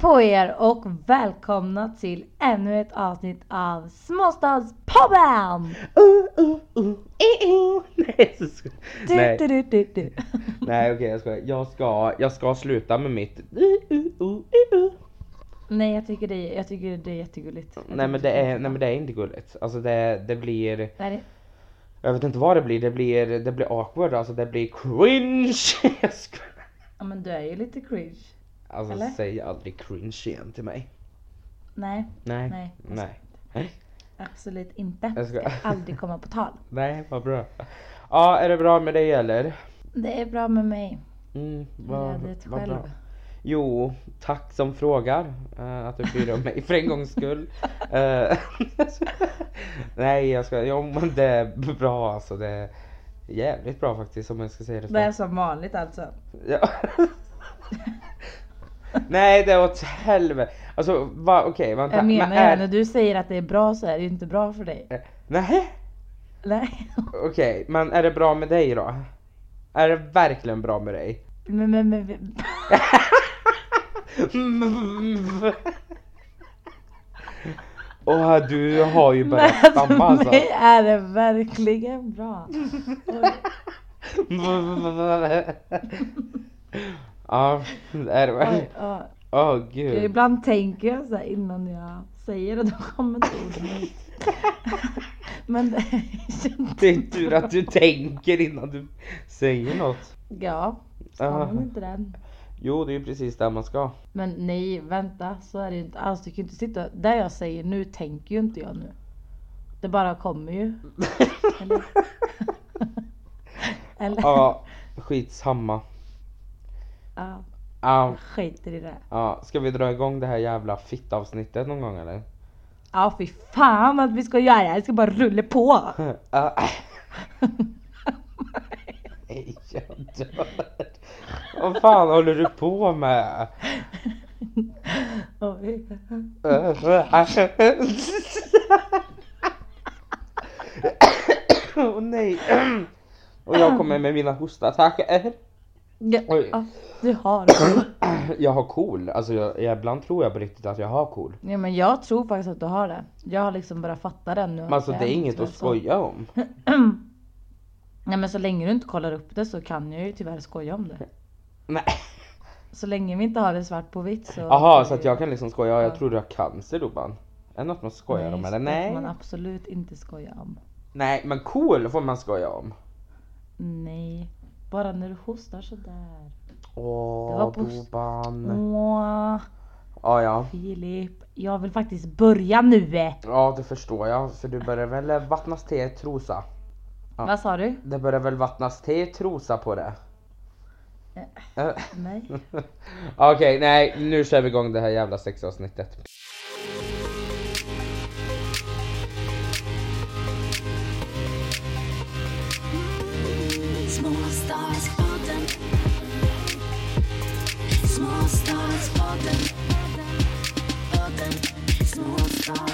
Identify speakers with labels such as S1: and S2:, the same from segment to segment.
S1: på er och välkomna till ännu ett avsnitt av Småstadspodden!
S2: Uh, uh, uh, eh, eh. Nej, så ska...
S1: Du,
S2: Nej.
S1: du, du, du, du.
S2: Nej okej jag skojar. Jag ska, jag ska sluta med mitt uh, uh, uh, uh, uh.
S1: Nej jag tycker, det är, jag tycker det är jättegulligt. Jag tycker
S2: Nej men det är, nej men det är inte gulligt. Alltså det, det blir,
S1: Nej, det-
S2: jag vet inte vad det blir, det blir, det blir awkward alltså det blir cringe. Jag skojar.
S1: Ja men du är ju lite cringe.
S2: Alltså
S1: Eller?
S2: säg aldrig cringe igen till mig.
S1: Nej,
S2: Nej.
S1: Nej.
S2: Nej.
S1: absolut inte.
S2: Jag ska-
S1: Ska aldrig komma på tal.
S2: Nej vad bra. Ja är det bra med dig eller?
S1: Det är bra med mig.
S2: Mm,
S1: Jag
S2: vad,
S1: hade det
S2: vad bra.
S1: själv.
S2: Jo, tack som frågar eh, att du bryr dig om mig för en gångs skull. Eh, nej, jag ska, jo men det är bra alltså. Det är jävligt bra faktiskt om jag ska säga det
S1: Det är
S2: så.
S1: som vanligt alltså.
S2: Ja. nej, det är åt helvete. Alltså, va, okej vänta.
S1: Jag menar
S2: men är-
S1: ju när du säger att det är bra så är det ju inte bra för dig.
S2: Nej,
S1: Nej.
S2: okej, men är det bra med dig då? Är det verkligen bra med dig?
S1: Men, men, men.
S2: Åh, du har ju
S1: Men
S2: börjat
S1: för
S2: stamma alltså.
S1: mig är det verkligen bra. Oj.
S2: Ja, det är det väl.
S1: Oj, ja.
S2: Åh
S1: Jag
S2: gud.
S1: ibland tänker jag så här innan jag säger det, då kommer inte orden ut. Men det är inte
S2: Det är tur att du tänker innan du säger något.
S1: Ja, sa
S2: Ja.
S1: man inte det?
S2: Jo, det är ju precis där man ska.
S1: Men nej, vänta, så är det ju inte alls. Du kan ju inte sitta... Där jag säger nu tänker ju inte jag nu. Det bara kommer ju. Eller? Eller?
S2: Ja, skitsamma.
S1: Ja,
S2: Ja,
S1: jag skiter i det.
S2: ja. Ska vi dra igång det här jävla fittavsnittet någon gång eller?
S1: Ja, fy fan att vi ska göra. Det ska bara rulla på.
S2: Ah. Nej, jag dör. Vad fan håller du på med?
S1: Oj.
S2: Åh nej. Och jag kommer med mina hostattacker.
S1: Ja,
S2: Oj.
S1: ja, du har.
S2: Jag har KOL, alltså jag, jag- ibland tror jag på riktigt att jag har KOL.
S1: Ja, men jag tror faktiskt att du har det. Jag har liksom börjat fatta det nu.
S2: Men alltså det är inget att skoja om.
S1: Nej men så länge du inte kollar upp det så kan jag ju tyvärr skoja om det.
S2: Nej.
S1: Så länge vi inte har det svart på vitt så...
S2: Jaha, så att jag kan liksom skoja, Ja,
S1: Ja.
S2: jag tror du har cancer Robban. Är det något man skojar om eller?
S1: sånt får man
S2: Nej.
S1: absolut inte skoja om.
S2: Nej men KOL får man skoja om.
S1: Nej. Bara när du hostar sådär. Det
S2: Åh,
S1: var post- Mm.
S2: Boban.
S1: Åh,
S2: Ja, ja.
S1: Filip. Jag vill faktiskt börja nu.
S2: Ja, det förstår jag. För du börjar väl vattnas till i trosa? Ja.
S1: Vad sa du?
S2: Det börjar väl vattnas till i trosa på det? Eh,
S1: Nej.
S2: Okej, nej, nu kör vi igång det här jävla sexavsnittet.
S3: Småstadspodden. Småstadspodden. Podden. Småstad.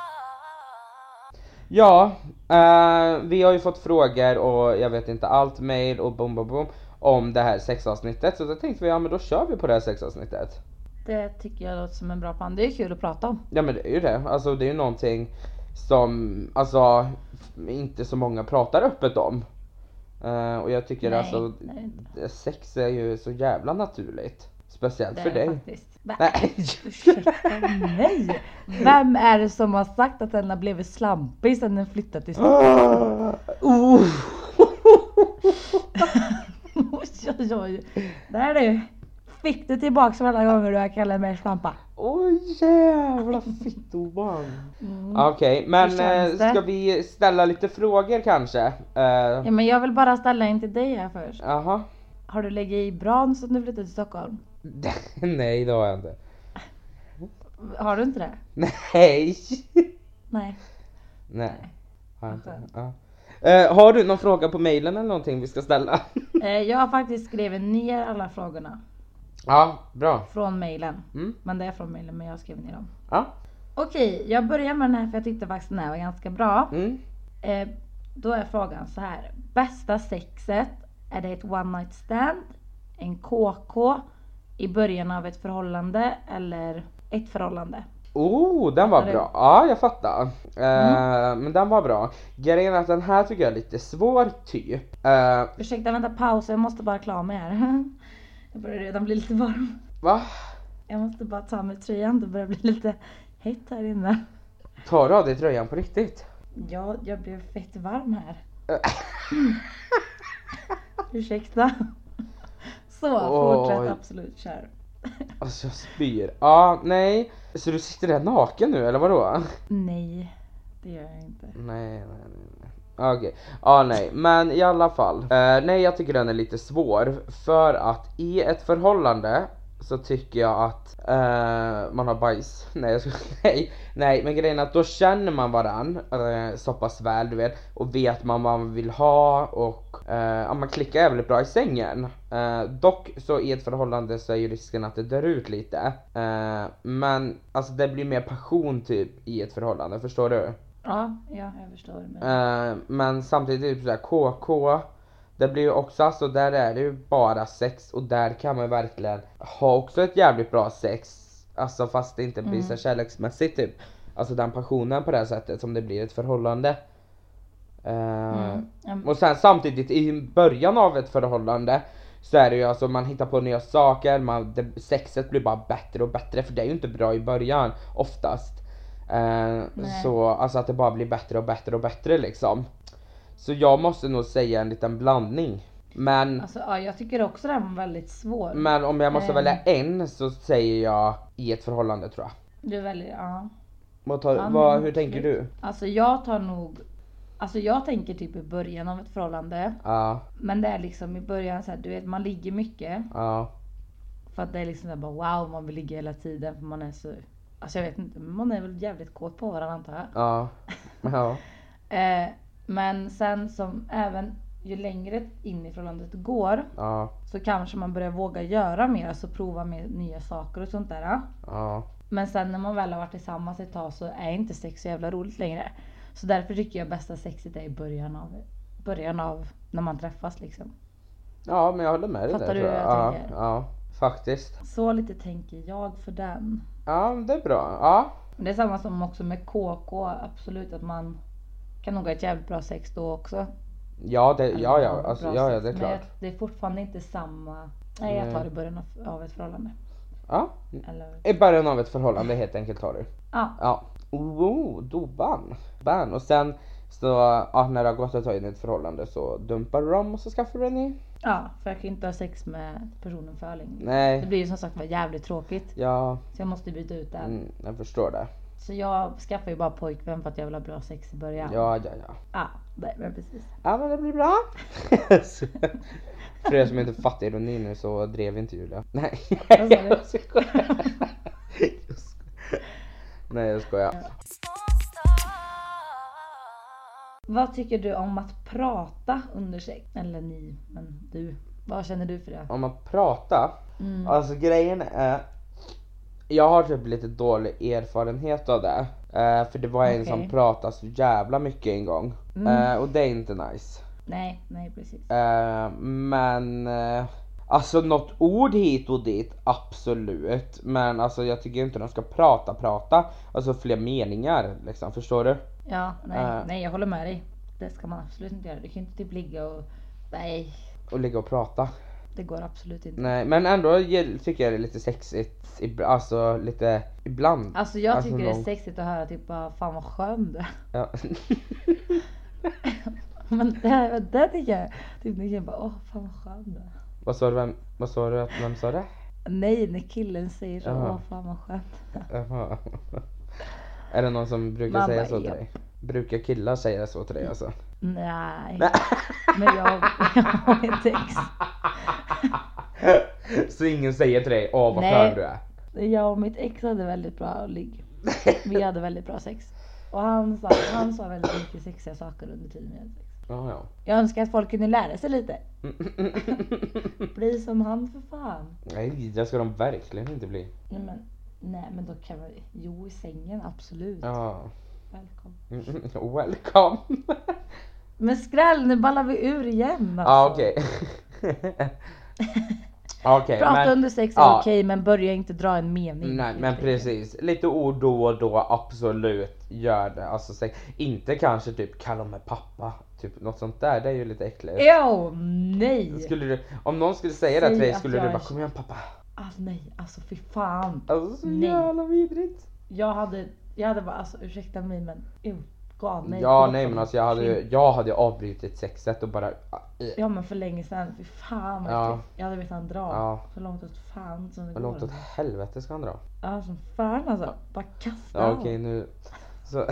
S3: Småstad.
S2: Ja, eh, vi har ju fått frågor och jag vet inte allt, mail och bom bom bom om det här sexavsnittet. Så då tänkte vi, ja men då kör vi på det här sexavsnittet.
S1: Det tycker jag låter som en bra plan. Det är kul att prata om.
S2: Ja men det är ju det, alltså det är ju någonting som, alltså inte så många pratar öppet om. Eh, och jag tycker
S1: Nej,
S2: alltså,
S1: det är det inte.
S2: det- sex är ju så jävla naturligt. Speciellt
S1: Det
S2: för
S1: är
S2: dig.
S1: Faktiskt. Va?
S2: Nej!
S1: Ursäkta mig! Vem är det som har sagt att den har blivit slampig sen den flyttade till Stockholm?
S2: Oh.
S1: Oj, oj, oj. Där du! Fick du tillbaks varenda gånger du har kallat mig slampa.
S2: Oj jävla fittoban! Okej, men
S1: Hur känns
S2: eh,
S1: det?
S2: ska vi ställa lite frågor kanske? Eh,
S1: Ja, men jag vill bara ställa en till dig här först.
S2: Jaha?
S1: Har du legat i bran sen du flyttade till Stockholm?
S2: Nej det har jag inte.
S1: Har du inte det?
S2: Nej!
S1: Nej.
S2: Nej. Ja,
S1: skönt.
S2: ja. Eh, har du någon fråga på mailen eller någonting vi ska ställa?
S1: Eh, Jag har faktiskt skrivit ner alla frågorna
S2: ja, bra.
S1: från mailen.
S2: Mm.
S1: Men det är från mailen men jag skrev ner dem.
S2: Ja.
S1: Okej, jag börjar med den här för jag tyckte faktiskt den här var ganska bra.
S2: Mm.
S1: Eh, Då är frågan så här. Bästa sexet, är det ett one night stand, en KK, i början av ett förhållande eller ett förhållande?
S2: Oh, den var
S1: Fattar du? Mm.
S2: bra. Ja, jag fattar. Eh, men den var bra. Grejen är att den här tycker jag är lite svår typ. Eh,
S1: Ursäkta, vänta paus. Jag måste bara klara mig här. Jag börjar redan bli lite varm.
S2: va?
S1: Jag måste bara ta med tröjan. Det börjar bli lite hett här inne.
S2: Tar du av dig tröjan på riktigt?
S1: Ja, jag blev fett varm här. Ursäkta. Så,
S2: Oj.
S1: fortsätt absolut kör.
S2: Alltså jag spyr. Ja, nej. Så du sitter där naken nu eller vadå?
S1: Nej, det gör jag inte.
S2: Nej, nej, nej. nej. Okej, ja nej, men i alla fall. Eh, nej, jag tycker den är lite svår för att i ett förhållande så tycker jag att eh, man har bajs. Nej, jag ska, nej, nej, men grejen är att då känner man varann eh, så pass väl, du vet, och vet man vad man vill ha och eh, ja, man klickar jävligt bra i sängen. Eh, dock så i ett förhållande så är ju risken att det dör ut lite. Eh, men alltså det blir mer passion typ i ett förhållande, förstår du?
S1: Ja, ja jag förstår. Men...
S2: Eh, men samtidigt typ sådär KK, det blir ju också alltså där är det ju bara sex och där kan man verkligen ha också ett jävligt bra sex. Alltså fast det inte blir
S1: Mm.
S2: så kärleksmässigt typ. Alltså den passionen på det här sättet som det blir i ett förhållande. Eh,
S1: Mm. Ja,
S2: och sen samtidigt i början av ett förhållande så är det ju alltså man hittar på nya saker, man, det, sexet blir bara bättre och bättre för det är ju inte bra i början oftast. Eh,
S1: Nej.
S2: så alltså att det bara blir bättre och bättre och bättre liksom. Så jag måste nog säga en liten blandning. Men,
S1: Alltså, ja, jag tycker också den var väldigt svår.
S2: men om jag måste
S1: Ehm.
S2: välja en så säger jag i ett förhållande tror jag.
S1: Du väljer, ja.
S2: Vad tar,
S1: Ja,
S2: vad,
S1: men
S2: hur tänker
S1: absolut.
S2: du?
S1: Alltså jag tar nog Alltså jag tänker typ i början av ett förhållande.
S2: Ja,
S1: Men det är liksom i början så här, du vet man ligger mycket.
S2: ja,
S1: För att det är liksom så här, bara wow man vill ligga hela tiden för man är så Alltså jag vet inte, men man är väl jävligt kåt på varandra antar jag.
S2: ja, ja,
S1: Eh, men sen som även ju längre in i förhållandet går
S2: ja,
S1: så kanske man börjar våga göra mer, alltså prova med nya saker och sånt där.
S2: ja.
S1: Men sen när man väl har varit tillsammans ett tag så är inte sex så jävla roligt längre. Så därför tycker jag bästa sexet är i början av, början av när man träffas liksom.
S2: Ja men jag håller med dig
S1: Fattar
S2: där
S1: du
S2: tror
S1: hur
S2: jag.
S1: jag
S2: ja,
S1: tänker?
S2: ja, faktiskt.
S1: Så lite tänker jag för den.
S2: Ja, men det är bra. Ja,
S1: Men det är samma som också med KK, absolut att man kan nog ha ett jävligt bra sex då också.
S2: ja, det,
S1: Eller
S2: ja,
S1: ha
S2: ja,
S1: ett
S2: alltså,
S1: bra
S2: ja,
S1: sex.
S2: ja det är
S1: Men jag-
S2: klart.
S1: det är fortfarande inte samma. Nej jag tar det i början av, av ett förhållande.
S2: Ja.
S1: Eller,
S2: I början av ett förhållande helt enkelt har du.
S1: ja.
S2: Ja. Oh, doban. Ban. Och sen så, ja, när det har gått ett tag in i ett förhållande så dumpar du dem och så skaffar du en ny.
S1: ja, för jag kan inte ha sex med personen för länge. Det
S2: Nej.
S1: blir ju som sagt var jävligt tråkigt.
S2: Ja,
S1: Så jag måste byta ut den.
S2: mm, jag förstår det.
S1: Så jag skaffade ju bara pojkvän för att jag vill ha bra sex i början.
S2: Ja, ja, ja.
S1: Ah, nej, men precis.
S2: Ja men det blir bra. För er som inte fattar ironin nu så drev inte Julia. Nej.
S1: Vad sa du?
S2: Jag skojar. Jag skojar. Nej jag skojar.
S1: Vad tycker du om att prata under sex? Eller ni, men du. Vad känner du för det?
S2: Om man pratar.
S1: Mm.
S2: Alltså grejen är. Jag har typ lite dålig erfarenhet av det. Eh, för det var en som
S1: Okej.
S2: pratade så jävla mycket en gång.
S1: Mm.
S2: Eh, och det är inte nice.
S1: Nej, nej precis.
S2: Eh, men eh, alltså något ord hit och dit, absolut. Men alltså jag tycker inte de ska prata, prata. Alltså fler meningar liksom, förstår du?
S1: Ja, nej,
S2: Äh.
S1: nej jag håller med dig. Det ska man absolut inte göra. Du kan ju inte typ ligga och... Nej,
S2: Och ligga och prata.
S1: det går absolut inte.
S2: Nej men ändå ge- tycker jag det är lite sexigt, ib- alltså lite ibland.
S1: Alltså jag
S2: Alltså,
S1: tycker det
S2: någon-
S1: är sexigt att höra typ bara fan vad skön du är."
S2: Ja.
S1: Men det, det tycker jag. Typ när killen bara åh fan vad skön du är."
S2: vad sa du, vem, vad sa du, att- vem sa det?
S1: Nej, när killen säger så
S2: Jaha.
S1: åh fan vad skön du är."
S2: Jaha. Är det någon som brukar
S1: Man
S2: säga
S1: bara,
S2: så till
S1: "Japp."
S2: dig? Brukar killar säga så till dig alltså?
S1: Nej. Men jag, jag har ett ex.
S2: så ingen säger till dig, åh vad
S1: Nej.
S2: skön du är?
S1: Jag och mitt ex hade väldigt bra ligg. Vi hade väldigt bra sex. Och han sa, han sa väldigt mycket sexiga saker under tiden vi hade sex.
S2: Ja, ja.
S1: Jag önskar att folk kunde lära sig lite.
S2: Mm.
S1: Bli som han för fan.
S2: Nej, det ska de verkligen inte bli.
S1: Nej men, nej, men då kan vi... Jo, i sängen absolut.
S2: Ja.
S1: Välkommen.
S2: Mm, Welcome!
S1: Men skräll, nu ballar vi ur igen alltså.
S2: Ja okej. Okej
S1: Prata
S2: men,
S1: under sex är
S2: ja.
S1: okej men börja inte dra en mening.
S2: nej, men precis. Lite ord då och då, absolut. Gör det. Alltså, sex. Inte kanske typ kalla mig pappa. Typ något sånt där, det är ju lite äckligt.
S1: Jo, nej!
S2: Skulle du, om någon skulle säga det
S1: Säg
S2: till dig
S1: att
S2: skulle
S1: jag
S2: du
S1: är-
S2: bara kom igen pappa.
S1: Ah, nej, alltså fy fan.
S2: Alltså så
S1: Nej.
S2: jävla vidrigt.
S1: Jag hade, jag hade bara, alltså ursäkta mig men utgav mig.
S2: ja nej men alltså jag hade ju jag hade ju avbrutit sexet och bara
S1: Ja men för länge sedan, fy fan vad
S2: Ja.
S1: äckligt. Jag hade velat han dra.
S2: Ja.
S1: Så långt åt fan som det
S2: Hur långt
S1: går.
S2: åt helvete ska han dra?
S1: Ja som fan alltså. Bara kasta
S2: Ja,
S1: honom.
S2: okej nu. Så.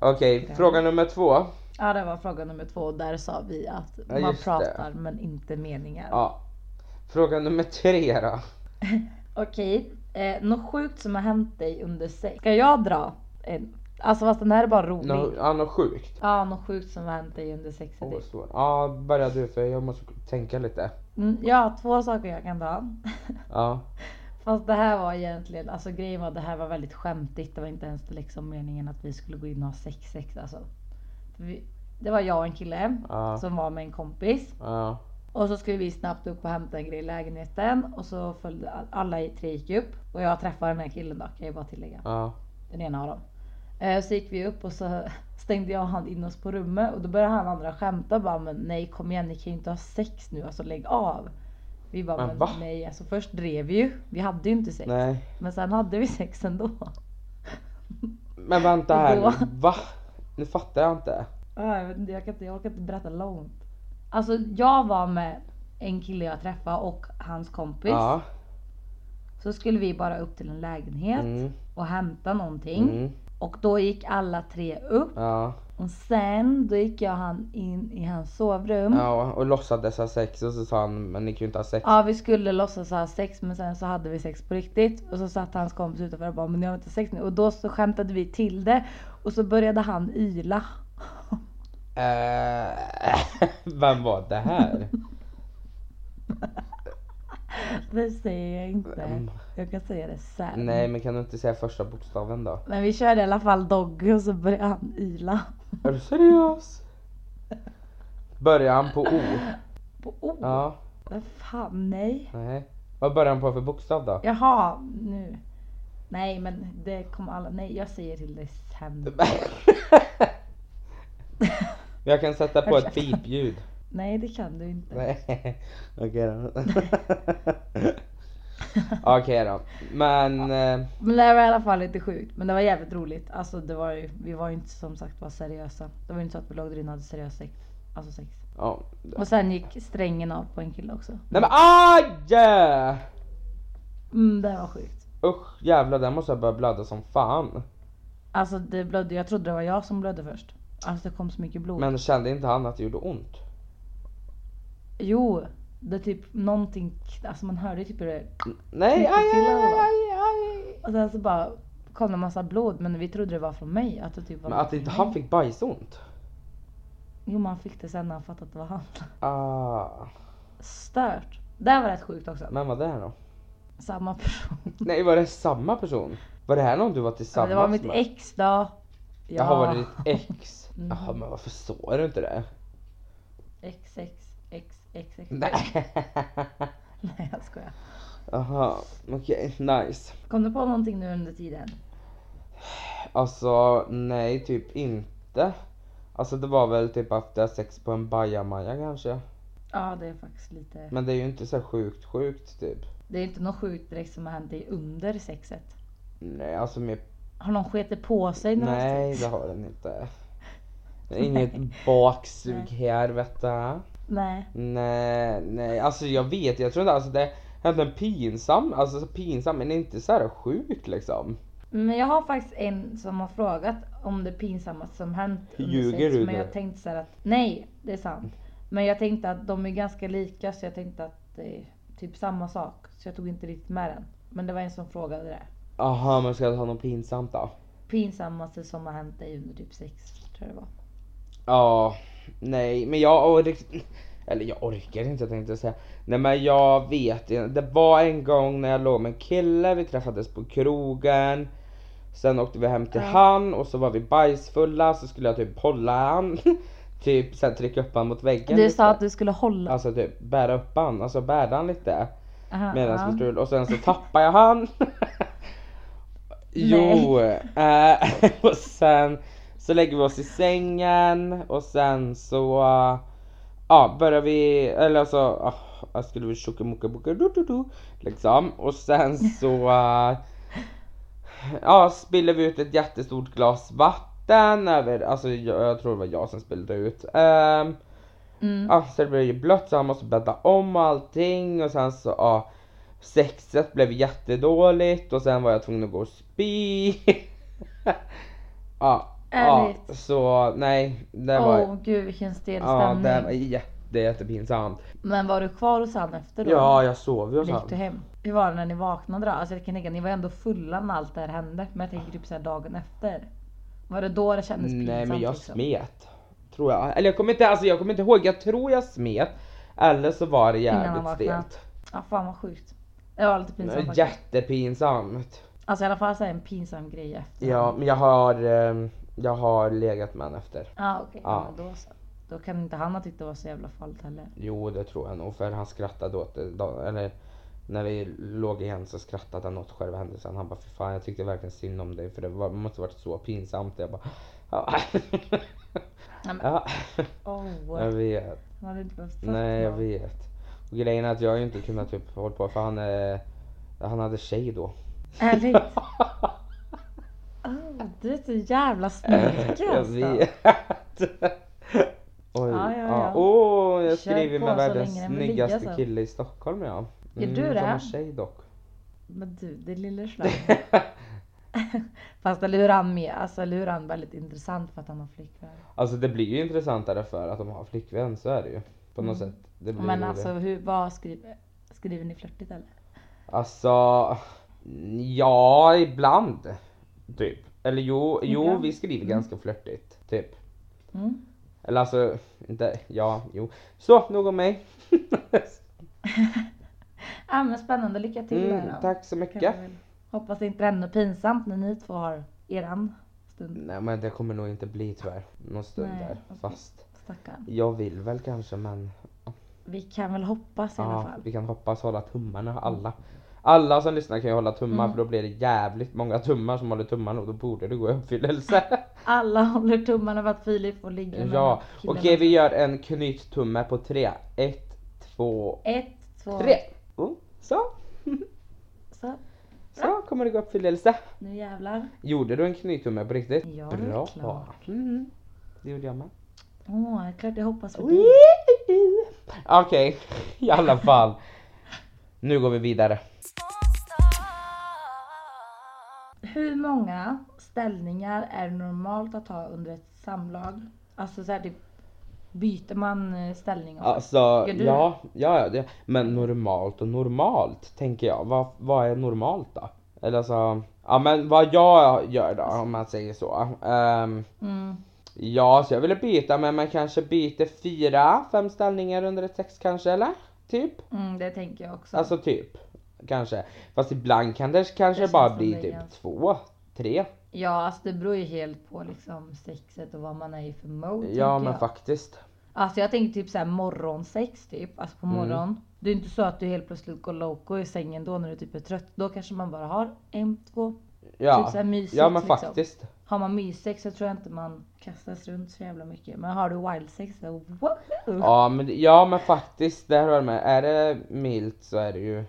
S2: okej, fråga nummer två.
S1: Ja det var fråga nummer två och där sa vi att
S2: Ja,
S1: man
S2: just
S1: pratar men inte meningar.
S2: Ja. Fråga nummer tre då.
S1: Okej, eh, något sjukt som har hänt dig under sex. Ska jag dra? En? Alltså fast den här är bara rolig.
S2: Nå, ja, något sjukt.
S1: Ja, något sjukt som har hänt dig under sexet.
S2: Åh, vad svårt. Ja, börja du för jag måste tänka lite.
S1: Mm, ja, två saker jag kan dra.
S2: Ja.
S1: Fast det här var egentligen, alltså grejen var att det här var väldigt skämtigt. Det var inte ens liksom meningen att vi skulle gå in och ha sex sex alltså. Vi, det var jag och en kille
S2: Ja.
S1: som var med en kompis.
S2: Ja.
S1: Och så skulle vi snabbt upp och hämta en grej i lägenheten. Och så följde alla i- tre gick upp. Och jag träffade den här killen då, kan jag bara tillägga.
S2: Ja.
S1: Den ena av dem. Eh, Så gick vi upp och så stängde jag och han in oss på rummet och då började han andra skämta bara men nej kom igen ni kan ju inte ha sex nu alltså lägg av. Vi bara men,
S2: Men va?
S1: nej alltså först drev vi ju. Vi hade ju inte sex.
S2: Nej.
S1: Men sen hade vi sex ändå.
S2: Men vänta här
S1: Då.
S2: nu. Va? Nu fattar jag inte.
S1: Ja, Jag, vet inte, jag, kan inte, jag orkar inte berätta långt. Alltså jag var med en kille jag träffade och hans kompis.
S2: Ja.
S1: Så skulle vi bara upp till en lägenhet
S2: Mm.
S1: och hämta någonting.
S2: Mm.
S1: Och då gick alla tre upp
S2: Ja.
S1: Och sen då gick jag han in i hans sovrum. Ja.
S2: ja. Och låtsades ha sex och så sa han men ni kan ju inte ha sex.
S1: vi skulle låtsas ha sex men sen så hade vi sex på riktigt. Och så satt hans kompis utanför och bara men jag har inte sex nu. Och då så skämtade vi till det. Och så började han yla.
S2: Eh, vem var det här?
S1: Det säger jag inte.
S2: Mm.
S1: Jag kan säga det sen.
S2: Nej men kan du inte säga första bokstaven då?
S1: Men vi körde i alla fall Doggy och så började han yla.
S2: Är du seriös? Början på O?
S1: På oh,
S2: Ja,
S1: vad fan nej.
S2: nej. Vad börjar han på för bokstav då?
S1: Jaha, nu. Nej men det kommer alla, nej jag säger till dig sen.
S2: Jag kan sätta på ett pipljud.
S1: Nej det kan du inte.
S2: Nej, Okej då. Okej då. Men eh,
S1: Men det var i alla fall lite sjukt. Men det var jävligt roligt. Alltså det var ju, vi var ju inte som sagt var seriösa. Det var ju inte så att vi låg där inne och hade seriös sex. Alltså sex.
S2: ja.
S1: Och sen gick strängen av på en kille också.
S2: Nej men aj!
S1: Mm, det var sjukt.
S2: Usch jävlar där måste jag börja blöda som fan.
S1: Alltså det blödde, jag trodde det var jag som blödde först. Alltså det kom så mycket blod.
S2: Men kände inte han att det gjorde ont?
S1: Jo, det typ någonting, alltså man hörde typ hur det
S2: Nej, aj,
S1: till
S2: aj,
S1: eller vad?
S2: aj, aj.
S1: och sen så bara kom det massa blod men vi trodde det var från mig. Att det typ var
S2: Men att inte han fick bajsont?
S1: Jo man fick det sen när han fattade att det var han.
S2: Ah.
S1: Stört. Det här var rätt sjukt också.
S2: Men vad det här då?
S1: Samma person.
S2: Nej var det samma person? Var det här någon du var
S1: Ja,
S2: tillsammans
S1: det var mitt
S2: med?
S1: ex då. Ja.
S2: Jaha var det ditt ex?
S1: Mm.
S2: Jaha men varför såg du inte det?
S1: Ex, ex, ex, ex, ex.
S2: Nej.
S1: Nej jag skojar.
S2: Jaha okej nice.
S1: Kom du på någonting nu under tiden?
S2: Alltså nej typ inte. Alltså det var väl typ att jag har sex på en bajamaja kanske.
S1: Ja det är faktiskt lite.
S2: Men det är ju inte så sjukt sjukt typ.
S1: Det är inte något sjukt direkt som har hänt dig under sexet.
S2: Nej alltså mer...
S1: Har någon skitit på sig när du har
S2: Nej
S1: haft
S2: det
S1: sex?
S2: har den inte. Det är inget baksug här vet du.
S1: Nej.
S2: Nej, nej, alltså jag vet, jag tror inte, alltså det hände en pinsam, alltså så pinsam men inte så här sjukt liksom.
S1: Men jag har faktiskt en som har frågat om det pinsamma som hänt under
S2: Ljuger
S1: sex.
S2: du
S1: Men
S2: nu?
S1: jag tänkte så här att nej det är sant. Men jag tänkte att de är ganska lika så jag tänkte att det är typ samma sak. Så jag tog inte riktigt med den. Men det var en som frågade det.
S2: Aha, men ska jag ta något pinsamt då?
S1: pinsammaste som har hänt dig under typ sex, tror jag det var.
S2: Ja, nej, men jag orkar, eller jag orkar inte tänkte jag säga. Nej men jag vet inte, det var en gång när jag låg med en kille, vi träffades på krogen. Sen åkte vi hem till
S1: Ja.
S2: han och så var vi bajsfulla så skulle jag typ hålla han. typ såhär trycka upp han mot väggen.
S1: Du
S2: lite.
S1: sa att du skulle hålla.
S2: Alltså typ bära upp han, alltså bära han lite.
S1: Aha,
S2: Medan
S1: ja.
S2: vi strul och sen så tappade jag han. jo! eh, och sen så lägger vi oss i sängen och sen så eh, ja, börjar vi, eller alltså, ah, jag skulle väl tjockamockabocka du du du liksom. Och sen så eh, ja, spiller vi ut ett jättestort glas vatten över, alltså jag, jag tror det var jag som spillde ut. Ehm,
S1: Mm.
S2: Ja, så det blev ju blött så han måste bädda om allting och sen så, ja. Sexet blev jättedåligt och sen var jag tvungen att gå och spy. ja, ja,
S1: Ärligt.
S2: så nej. Det
S1: Åh
S2: var,
S1: gud vilken stel
S2: ja,
S1: stämning.
S2: det var jätte, jättepinsamt.
S1: Men var du kvar hos han efter då?
S2: Ja, jag sov ju hos
S1: Eller gick du
S2: han.
S1: hem? Hur var det när ni vaknade då? Alltså jag kan tänka, ni var ändå fulla när allt det här hände. Men jag tänker typ såhär dagen efter. Var det då det kändes pinsamt?
S2: Nej men jag
S1: liksom?
S2: smet. Tror jag. Eller jag kommer inte, alltså jag kommer inte ihåg, jag tror jag smet. Eller så var det
S1: Innan han
S2: jävligt
S1: vaknade.
S2: stelt.
S1: liksom? Ja fan vad sjukt. Det var lite pinsamt faktiskt.
S2: Jättepinsamt.
S1: Alltså i alla fall så här en pinsam grej efter.
S2: Ja, men jag har, ehm, jag har legat med honom efter.
S1: Ja okej.
S2: Ja.
S1: Ja. men Då, så. då kan inte han ha tyckt det var så jävla farligt heller.
S2: Jo, det tror jag nog, för han skrattade åt det. då- Eller när vi låg igen så skrattade han åt själva händelsen. Han bara, för fan jag tyckte verkligen synd om dig för det var, måste varit så pinsamt. Jag bara, ja.
S1: Nej, men-
S2: ja,
S1: Oh,
S2: jag vet.
S1: han hade inte behövt sagt
S2: Nej, jag
S1: något.
S2: vet. Och grejen är att jag har ju inte kunnat typ hålla på för han, eh, han hade tjej då.
S1: Ärligt? Oh, du är så jävla snorkig
S2: Jag
S1: alltså.
S2: vet. Oj,
S1: Ja, ja, ja.
S2: Åh, jag
S1: Kör
S2: skriver
S1: på
S2: med
S1: så
S2: världens
S1: länge den vill ligga
S2: snyggaste
S1: så.
S2: kille i Stockholm ja. Mm,
S1: Gör alltså. du det?
S2: Som har tjej dock.
S1: Men du, det lille slarv. Fast eller hur han med? Alltså eller hur han väldigt intressant för att han har flickvän.
S2: Alltså det blir ju intressantare för att de har flickvän, så är det ju. På något
S1: Mm.
S2: sätt. Det blir
S1: Men
S2: ju
S1: alltså
S2: det.
S1: hur, vad skriver, skriver ni flörtigt eller?
S2: Alltså, ja ibland. Typ. Eller jo, jo
S1: Ibland.
S2: vi skriver ganska flörtigt. Typ.
S1: Mm.
S2: Eller alltså, inte, ja, jo. Så, nog om mig.
S1: Ah, men spännande, lycka till där
S2: mm,
S1: då.
S2: tack så
S1: Kan
S2: mycket.
S1: vi väl- Hoppas det inte är ännu pinsamt när ni två har eran stund.
S2: Nej men det kommer nog inte bli tyvärr. Någon stund
S1: Nej,
S2: där.
S1: okej.
S2: Fast
S1: Stackarn.
S2: jag vill väl kanske men.
S1: Vi kan väl hoppas i alla
S2: Ja,
S1: fall.
S2: vi kan hoppas hålla tummarna alla. Alla som lyssnar kan ju hålla tummar
S1: Mm.
S2: för då blir det jävligt många tummar som håller tummarna och då borde det gå i uppfyllelse.
S1: Alla håller tummarna för att Filip får ligga med
S2: ja,
S1: den här
S2: okej
S1: killen.
S2: vi gör en knyttumme på tre. Ett, två,
S1: Ett, två,
S2: tre! Oh, så,
S1: Så,
S2: så kommer det gå i uppfyllelse.
S1: nu jävlar.
S2: Gjorde du en knyttumme på riktigt?
S1: Ja, det är
S2: Bra!
S1: klart.
S2: Mm. Det gjorde jag med.
S1: Åh, det är klart jag hoppas för dig.
S2: Okej, i alla fall. Nu går vi vidare.
S1: Hur många ställningar är det normalt att ha under ett samlag? Alltså så här, typ, byter man eh, ställning? ofta?
S2: Alltså,
S1: Gör du
S2: ja, ja, ja det, men normalt och normalt tänker jag. Vad, vad är normalt då? Eller alltså, ja men vad jag gör då om man säger så. Ehm,
S1: Mm.
S2: ja, så jag ville byta men man kanske byter fyra, fem ställningar under ett sex kanske eller? Typ.
S1: Mm, det tänker jag också.
S2: Alltså typ. Kanske. Fast ibland kan det kanske
S1: Det
S2: bara
S1: känns
S2: bli
S1: som det,
S2: typ
S1: ja.
S2: två, tre.
S1: ja, alltså det beror ju helt på liksom sexet och vad man är i för mode.
S2: Ja
S1: tänker
S2: men
S1: jag.
S2: faktiskt.
S1: Alltså jag tänker typ såhär morgonsex typ, alltså på
S2: Mm.
S1: morgon. Det är inte så att du helt plötsligt går loco i sängen då när du typ är trött. Då kanske man bara har en, två.
S2: Ja,
S1: Typ så här mysigt
S2: ja men
S1: liksom.
S2: faktiskt.
S1: Har man myssex så tror jag inte man kastas runt så jävla mycket. Men har du wildsex så wow!
S2: Ja men, ja men faktiskt, där har jag med. Är det milt så är det ju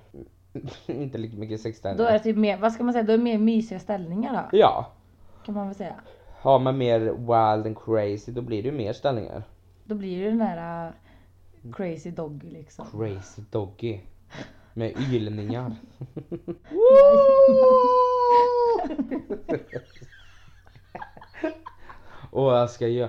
S2: inte lika mycket
S1: Då är det
S2: sexställningar.
S1: typ mer, vad ska man säga, då är det mer mysiga ställningar då.
S2: Ja,
S1: Kan man väl säga.
S2: har man mer wild and crazy då blir det ju mer ställningar.
S1: Då blir det den där äh, crazy doggy liksom.
S2: Crazy doggy. Med ylningar. Och jag ska ju,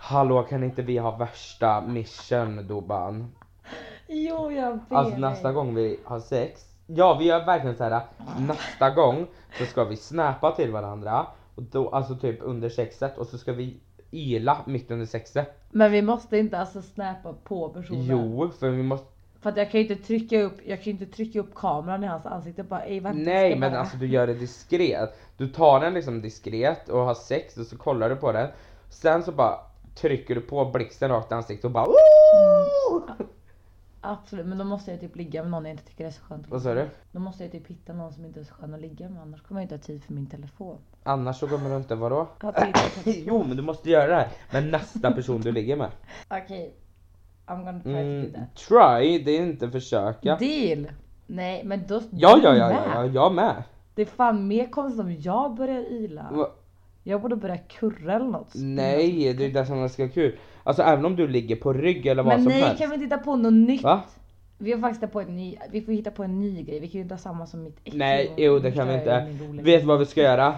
S2: hallå kan inte vi ha värsta mission Doban?
S1: jo jag ber
S2: Alltså
S1: dig.
S2: nästa gång vi har sex, ja vi gör verkligen så här. nästa gång så ska vi snäpa till varandra, och då, alltså typ under sexet och så ska vi yla mitt under sexet.
S1: Men vi måste inte alltså snäpa på personen.
S2: Jo, för vi måste,
S1: För att jag kan ju inte trycka upp, jag kan ju inte trycka upp kameran i hans ansikte och bara ej vänta. jag
S2: Nej
S1: ska
S2: men
S1: bara-"
S2: alltså du gör det diskret. Du tar den liksom diskret och har sex och så kollar du på den. Sen så bara trycker du på blixten rakt i ansiktet och bara "Ooh!"
S1: Mm. Absolut men då måste jag typ ligga med någon jag inte tycker är så skönt. att
S2: Vad sa du?
S1: Då måste jag typ hitta någon som inte är så skön att ligga med annars kommer jag inte ha tid för min telefon.
S2: Annars så kommer du inte, vadå?
S1: Ha tid för telefon.
S2: jo men du måste göra det här med nästa person du ligger med.
S1: Okej. I'm gonna try to do
S2: Mm,
S1: that.
S2: try, det är inte försöka.
S1: Deal! Nej men då...
S2: Ja, ja,
S1: du
S2: ja,
S1: med.
S2: ja, ja, jag med.
S1: Det är fan mer konstigt om jag börjar ila.
S2: Va- Mm,
S1: Jag borde börja kurra eller något.
S2: Nej, det är det som är så kul. Alltså även om du ligger på rygg eller vad
S1: Men
S2: som
S1: nej,
S2: helst.
S1: kan vi titta på något nytt?
S2: Va?
S1: Vi har faktiskt hittat på en ny, vi får hitta på en ny grej. Vi kan ju inte ha samma som mitt ex.
S2: Nej,
S1: Och
S2: jo det kan vi
S1: förstöra
S2: inte.
S1: min roliga-
S2: Vet du vad vi ska göra?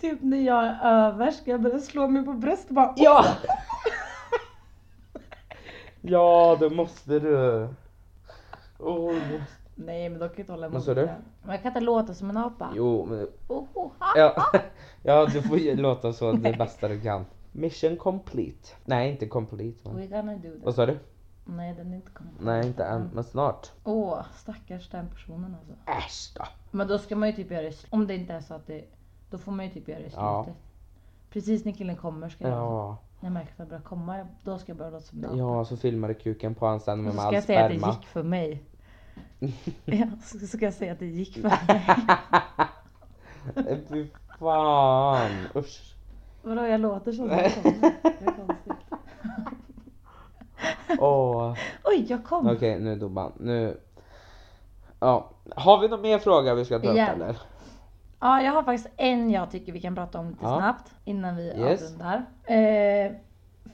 S1: Typ när jag är över ska jag börja slå mig på bröstet och bara
S2: Ja! Ja, det måste du. Oh,
S1: Nej men då kan jag inte hålla emot
S2: Vad sa du?
S1: det. Men jag kan inte låta som en apa.
S2: jo, men...
S1: Oh, oh, ah.
S2: Ja, ja, du får ju låta så det bästa du kan. Mission complete. Nej, inte complete. Men.
S1: We're gonna do that.
S2: Vad sa du?
S1: Nej den är inte kommit.
S2: Nej, inte än, men snart.
S1: Åh stackars den personen alltså.
S2: Äsch då.
S1: Men då ska man ju typ göra det i sl- Om det inte är så att det... Då får man ju typ göra det i slutet.
S2: Ja.
S1: Precis när killen kommer ska jag...
S2: Ja,
S1: När jag märker att han börjar komma, då ska jag börja låta som en apa.
S2: ja, så filmade kuken på honom sen
S1: Och så
S2: med
S1: ska
S2: all
S1: jag säga att det
S2: sperma.
S1: gick för mig. ja, så så ska jag säga att det gick för mig.
S2: Eh, Fy fan, usch.
S1: Vadå jag låter som en apa? Det är konstigt.
S2: Åh.
S1: Oj jag kom!
S2: Okej, nu Dobban. Nu... Ja. Har vi någon mer fråga vi ska ta upp
S1: Igen.
S2: eller?
S1: Ja, jag har faktiskt en jag tycker vi kan prata om lite
S2: Ja.
S1: snabbt innan vi
S2: Yes.
S1: avrundar. Eh,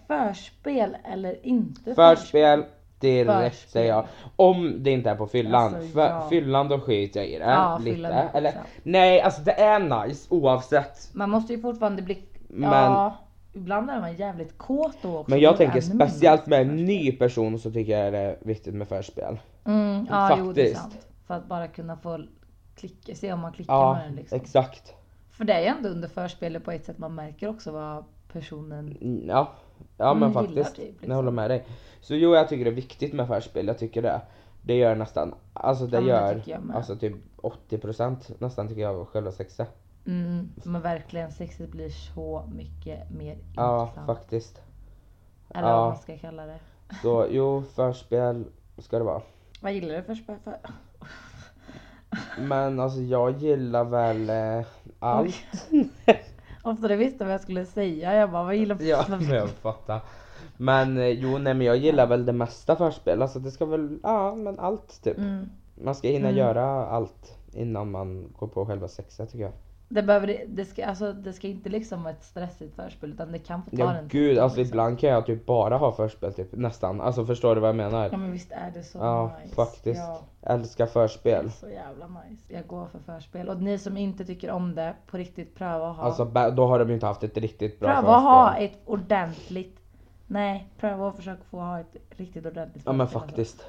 S1: förspel eller inte
S2: Förspel, direkt
S1: Förspel.
S2: säger jag. Om det inte är på fyllan.
S1: Alltså,
S2: För,
S1: ja.
S2: Fyllan då skiter jag i det.
S1: Ja,
S2: lite.
S1: fyllan är
S2: Eller,
S1: skitsamma.
S2: nej, alltså det är nice oavsett.
S1: Man måste ju fortfarande bli...
S2: Men-
S1: Ja, ibland är man jävligt kåt då också.
S2: Men jag
S1: Då är det
S2: tänker
S1: ännu mindre.
S2: speciellt med en ny person så tycker jag det är viktigt med förspel.
S1: Mm, ja, jo det är
S2: Faktiskt.
S1: sant. För att bara kunna få klicka, se om man klickar
S2: Ja,
S1: med den liksom.
S2: exakt.
S1: För det är ju ändå under förspelet på ett sätt man märker också vad personen...
S2: Mm, Ja, ja
S1: Mm,
S2: men
S1: gillar
S2: faktiskt.
S1: typ, liksom.
S2: Jag håller med dig. Så jo, jag tycker det är viktigt med förspel. Jag tycker det. Det gör nästan, alltså det
S1: Ja, men det
S2: gör
S1: tycker jag med.
S2: alltså typ 80% nästan tycker jag av själva sexet.
S1: Mm, men verkligen sexet blir så mycket mer
S2: Ja,
S1: intressant.
S2: faktiskt.
S1: Eller
S2: ja.
S1: vad man ska kalla det.
S2: Så jo, förspel ska det vara.
S1: Vad gillar du för spel? För...
S2: Men alltså jag gillar väl eh, allt.
S1: Ofta du visste vad jag skulle säga. Jag bara, vad gillar du för
S2: Ja, men
S1: spel?
S2: jag fattar. Men eh, jo, nej men jag gillar väl det mesta förspel. Alltså det ska väl, ja men allt typ.
S1: Mm.
S2: Man ska hinna
S1: Mm.
S2: göra allt innan man går på själva sexet tycker jag.
S1: Det, behöver, det, ska, alltså, det ska inte liksom vara ett stressigt förspel utan det kan få ta
S2: Ja
S1: den
S2: gud,
S1: tiden,
S2: alltså
S1: liksom.
S2: ibland kan jag typ bara ha förspel typ, nästan. Alltså förstår du vad jag menar?
S1: Ja men visst är det så
S2: Ja,
S1: nice.
S2: faktiskt.
S1: Ja,
S2: Älskar förspel.
S1: så jävla nice. Jag går för förspel. Och ni som inte tycker om det, på riktigt pröva att ha.
S2: Alltså ba- då har de ju inte haft ett riktigt bra
S1: pröva
S2: förspel.
S1: att ha ett ordentligt. Nej, pröva att försöka få ha ett riktigt ordentligt
S2: Ja men
S1: förspel, alltså.
S2: faktiskt.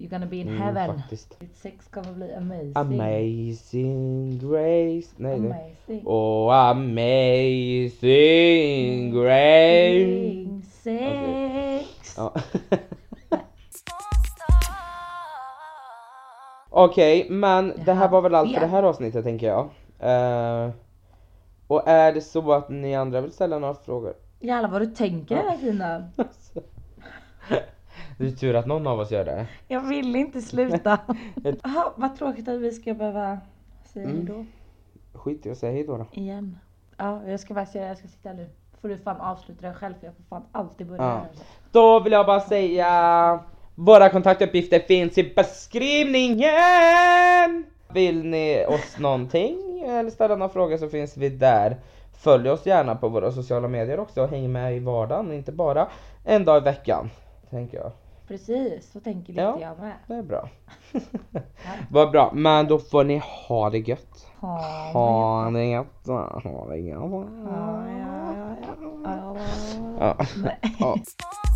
S1: You're gonna be in
S2: Mm,
S1: heaven.
S2: faktiskt.
S1: Ditt sex kommer bli amazing.
S2: Amazing grace. Nej, det.
S1: amazing.
S2: Oh amazing
S1: Mm.
S2: grace.
S1: Amazing Sex.
S2: Ja.
S3: stars.
S2: Okej, men det här var väl allt för
S1: Ja.
S2: det här avsnittet tänker jag. Eh, och är det så att ni andra vill ställa några frågor?
S1: Jävlar vad du tänker hela tiden.
S2: Det är tur att någon av oss gör det.
S1: Jag vill inte sluta. Aha, vad tråkigt att vi ska behöva säga
S2: Mm.
S1: hejdå
S2: Skit i att säga hejdå då.
S1: igen. Ja, jag ska faktiskt göra det. Jag ska sitta nu. Får du fan avsluta det själv för jag får fan alltid börja
S2: Ja.
S1: här.
S2: Då vill jag bara säga våra kontaktuppgifter finns i beskrivningen! Vill ni oss någonting eller ställa några frågor så finns vi där. Följ oss gärna på våra sociala medier också och häng med i vardagen, inte bara en dag i veckan. Tänker jag.
S1: Precis, så tänker lite
S2: Ja.
S1: jag med.
S2: Det är bra. Vad bra, men då får ni ha det gött.
S1: Ha,
S2: Ha det gött. Ha det gött.
S1: ja, ja, ja, ja.
S2: Ja. Ja.
S3: Small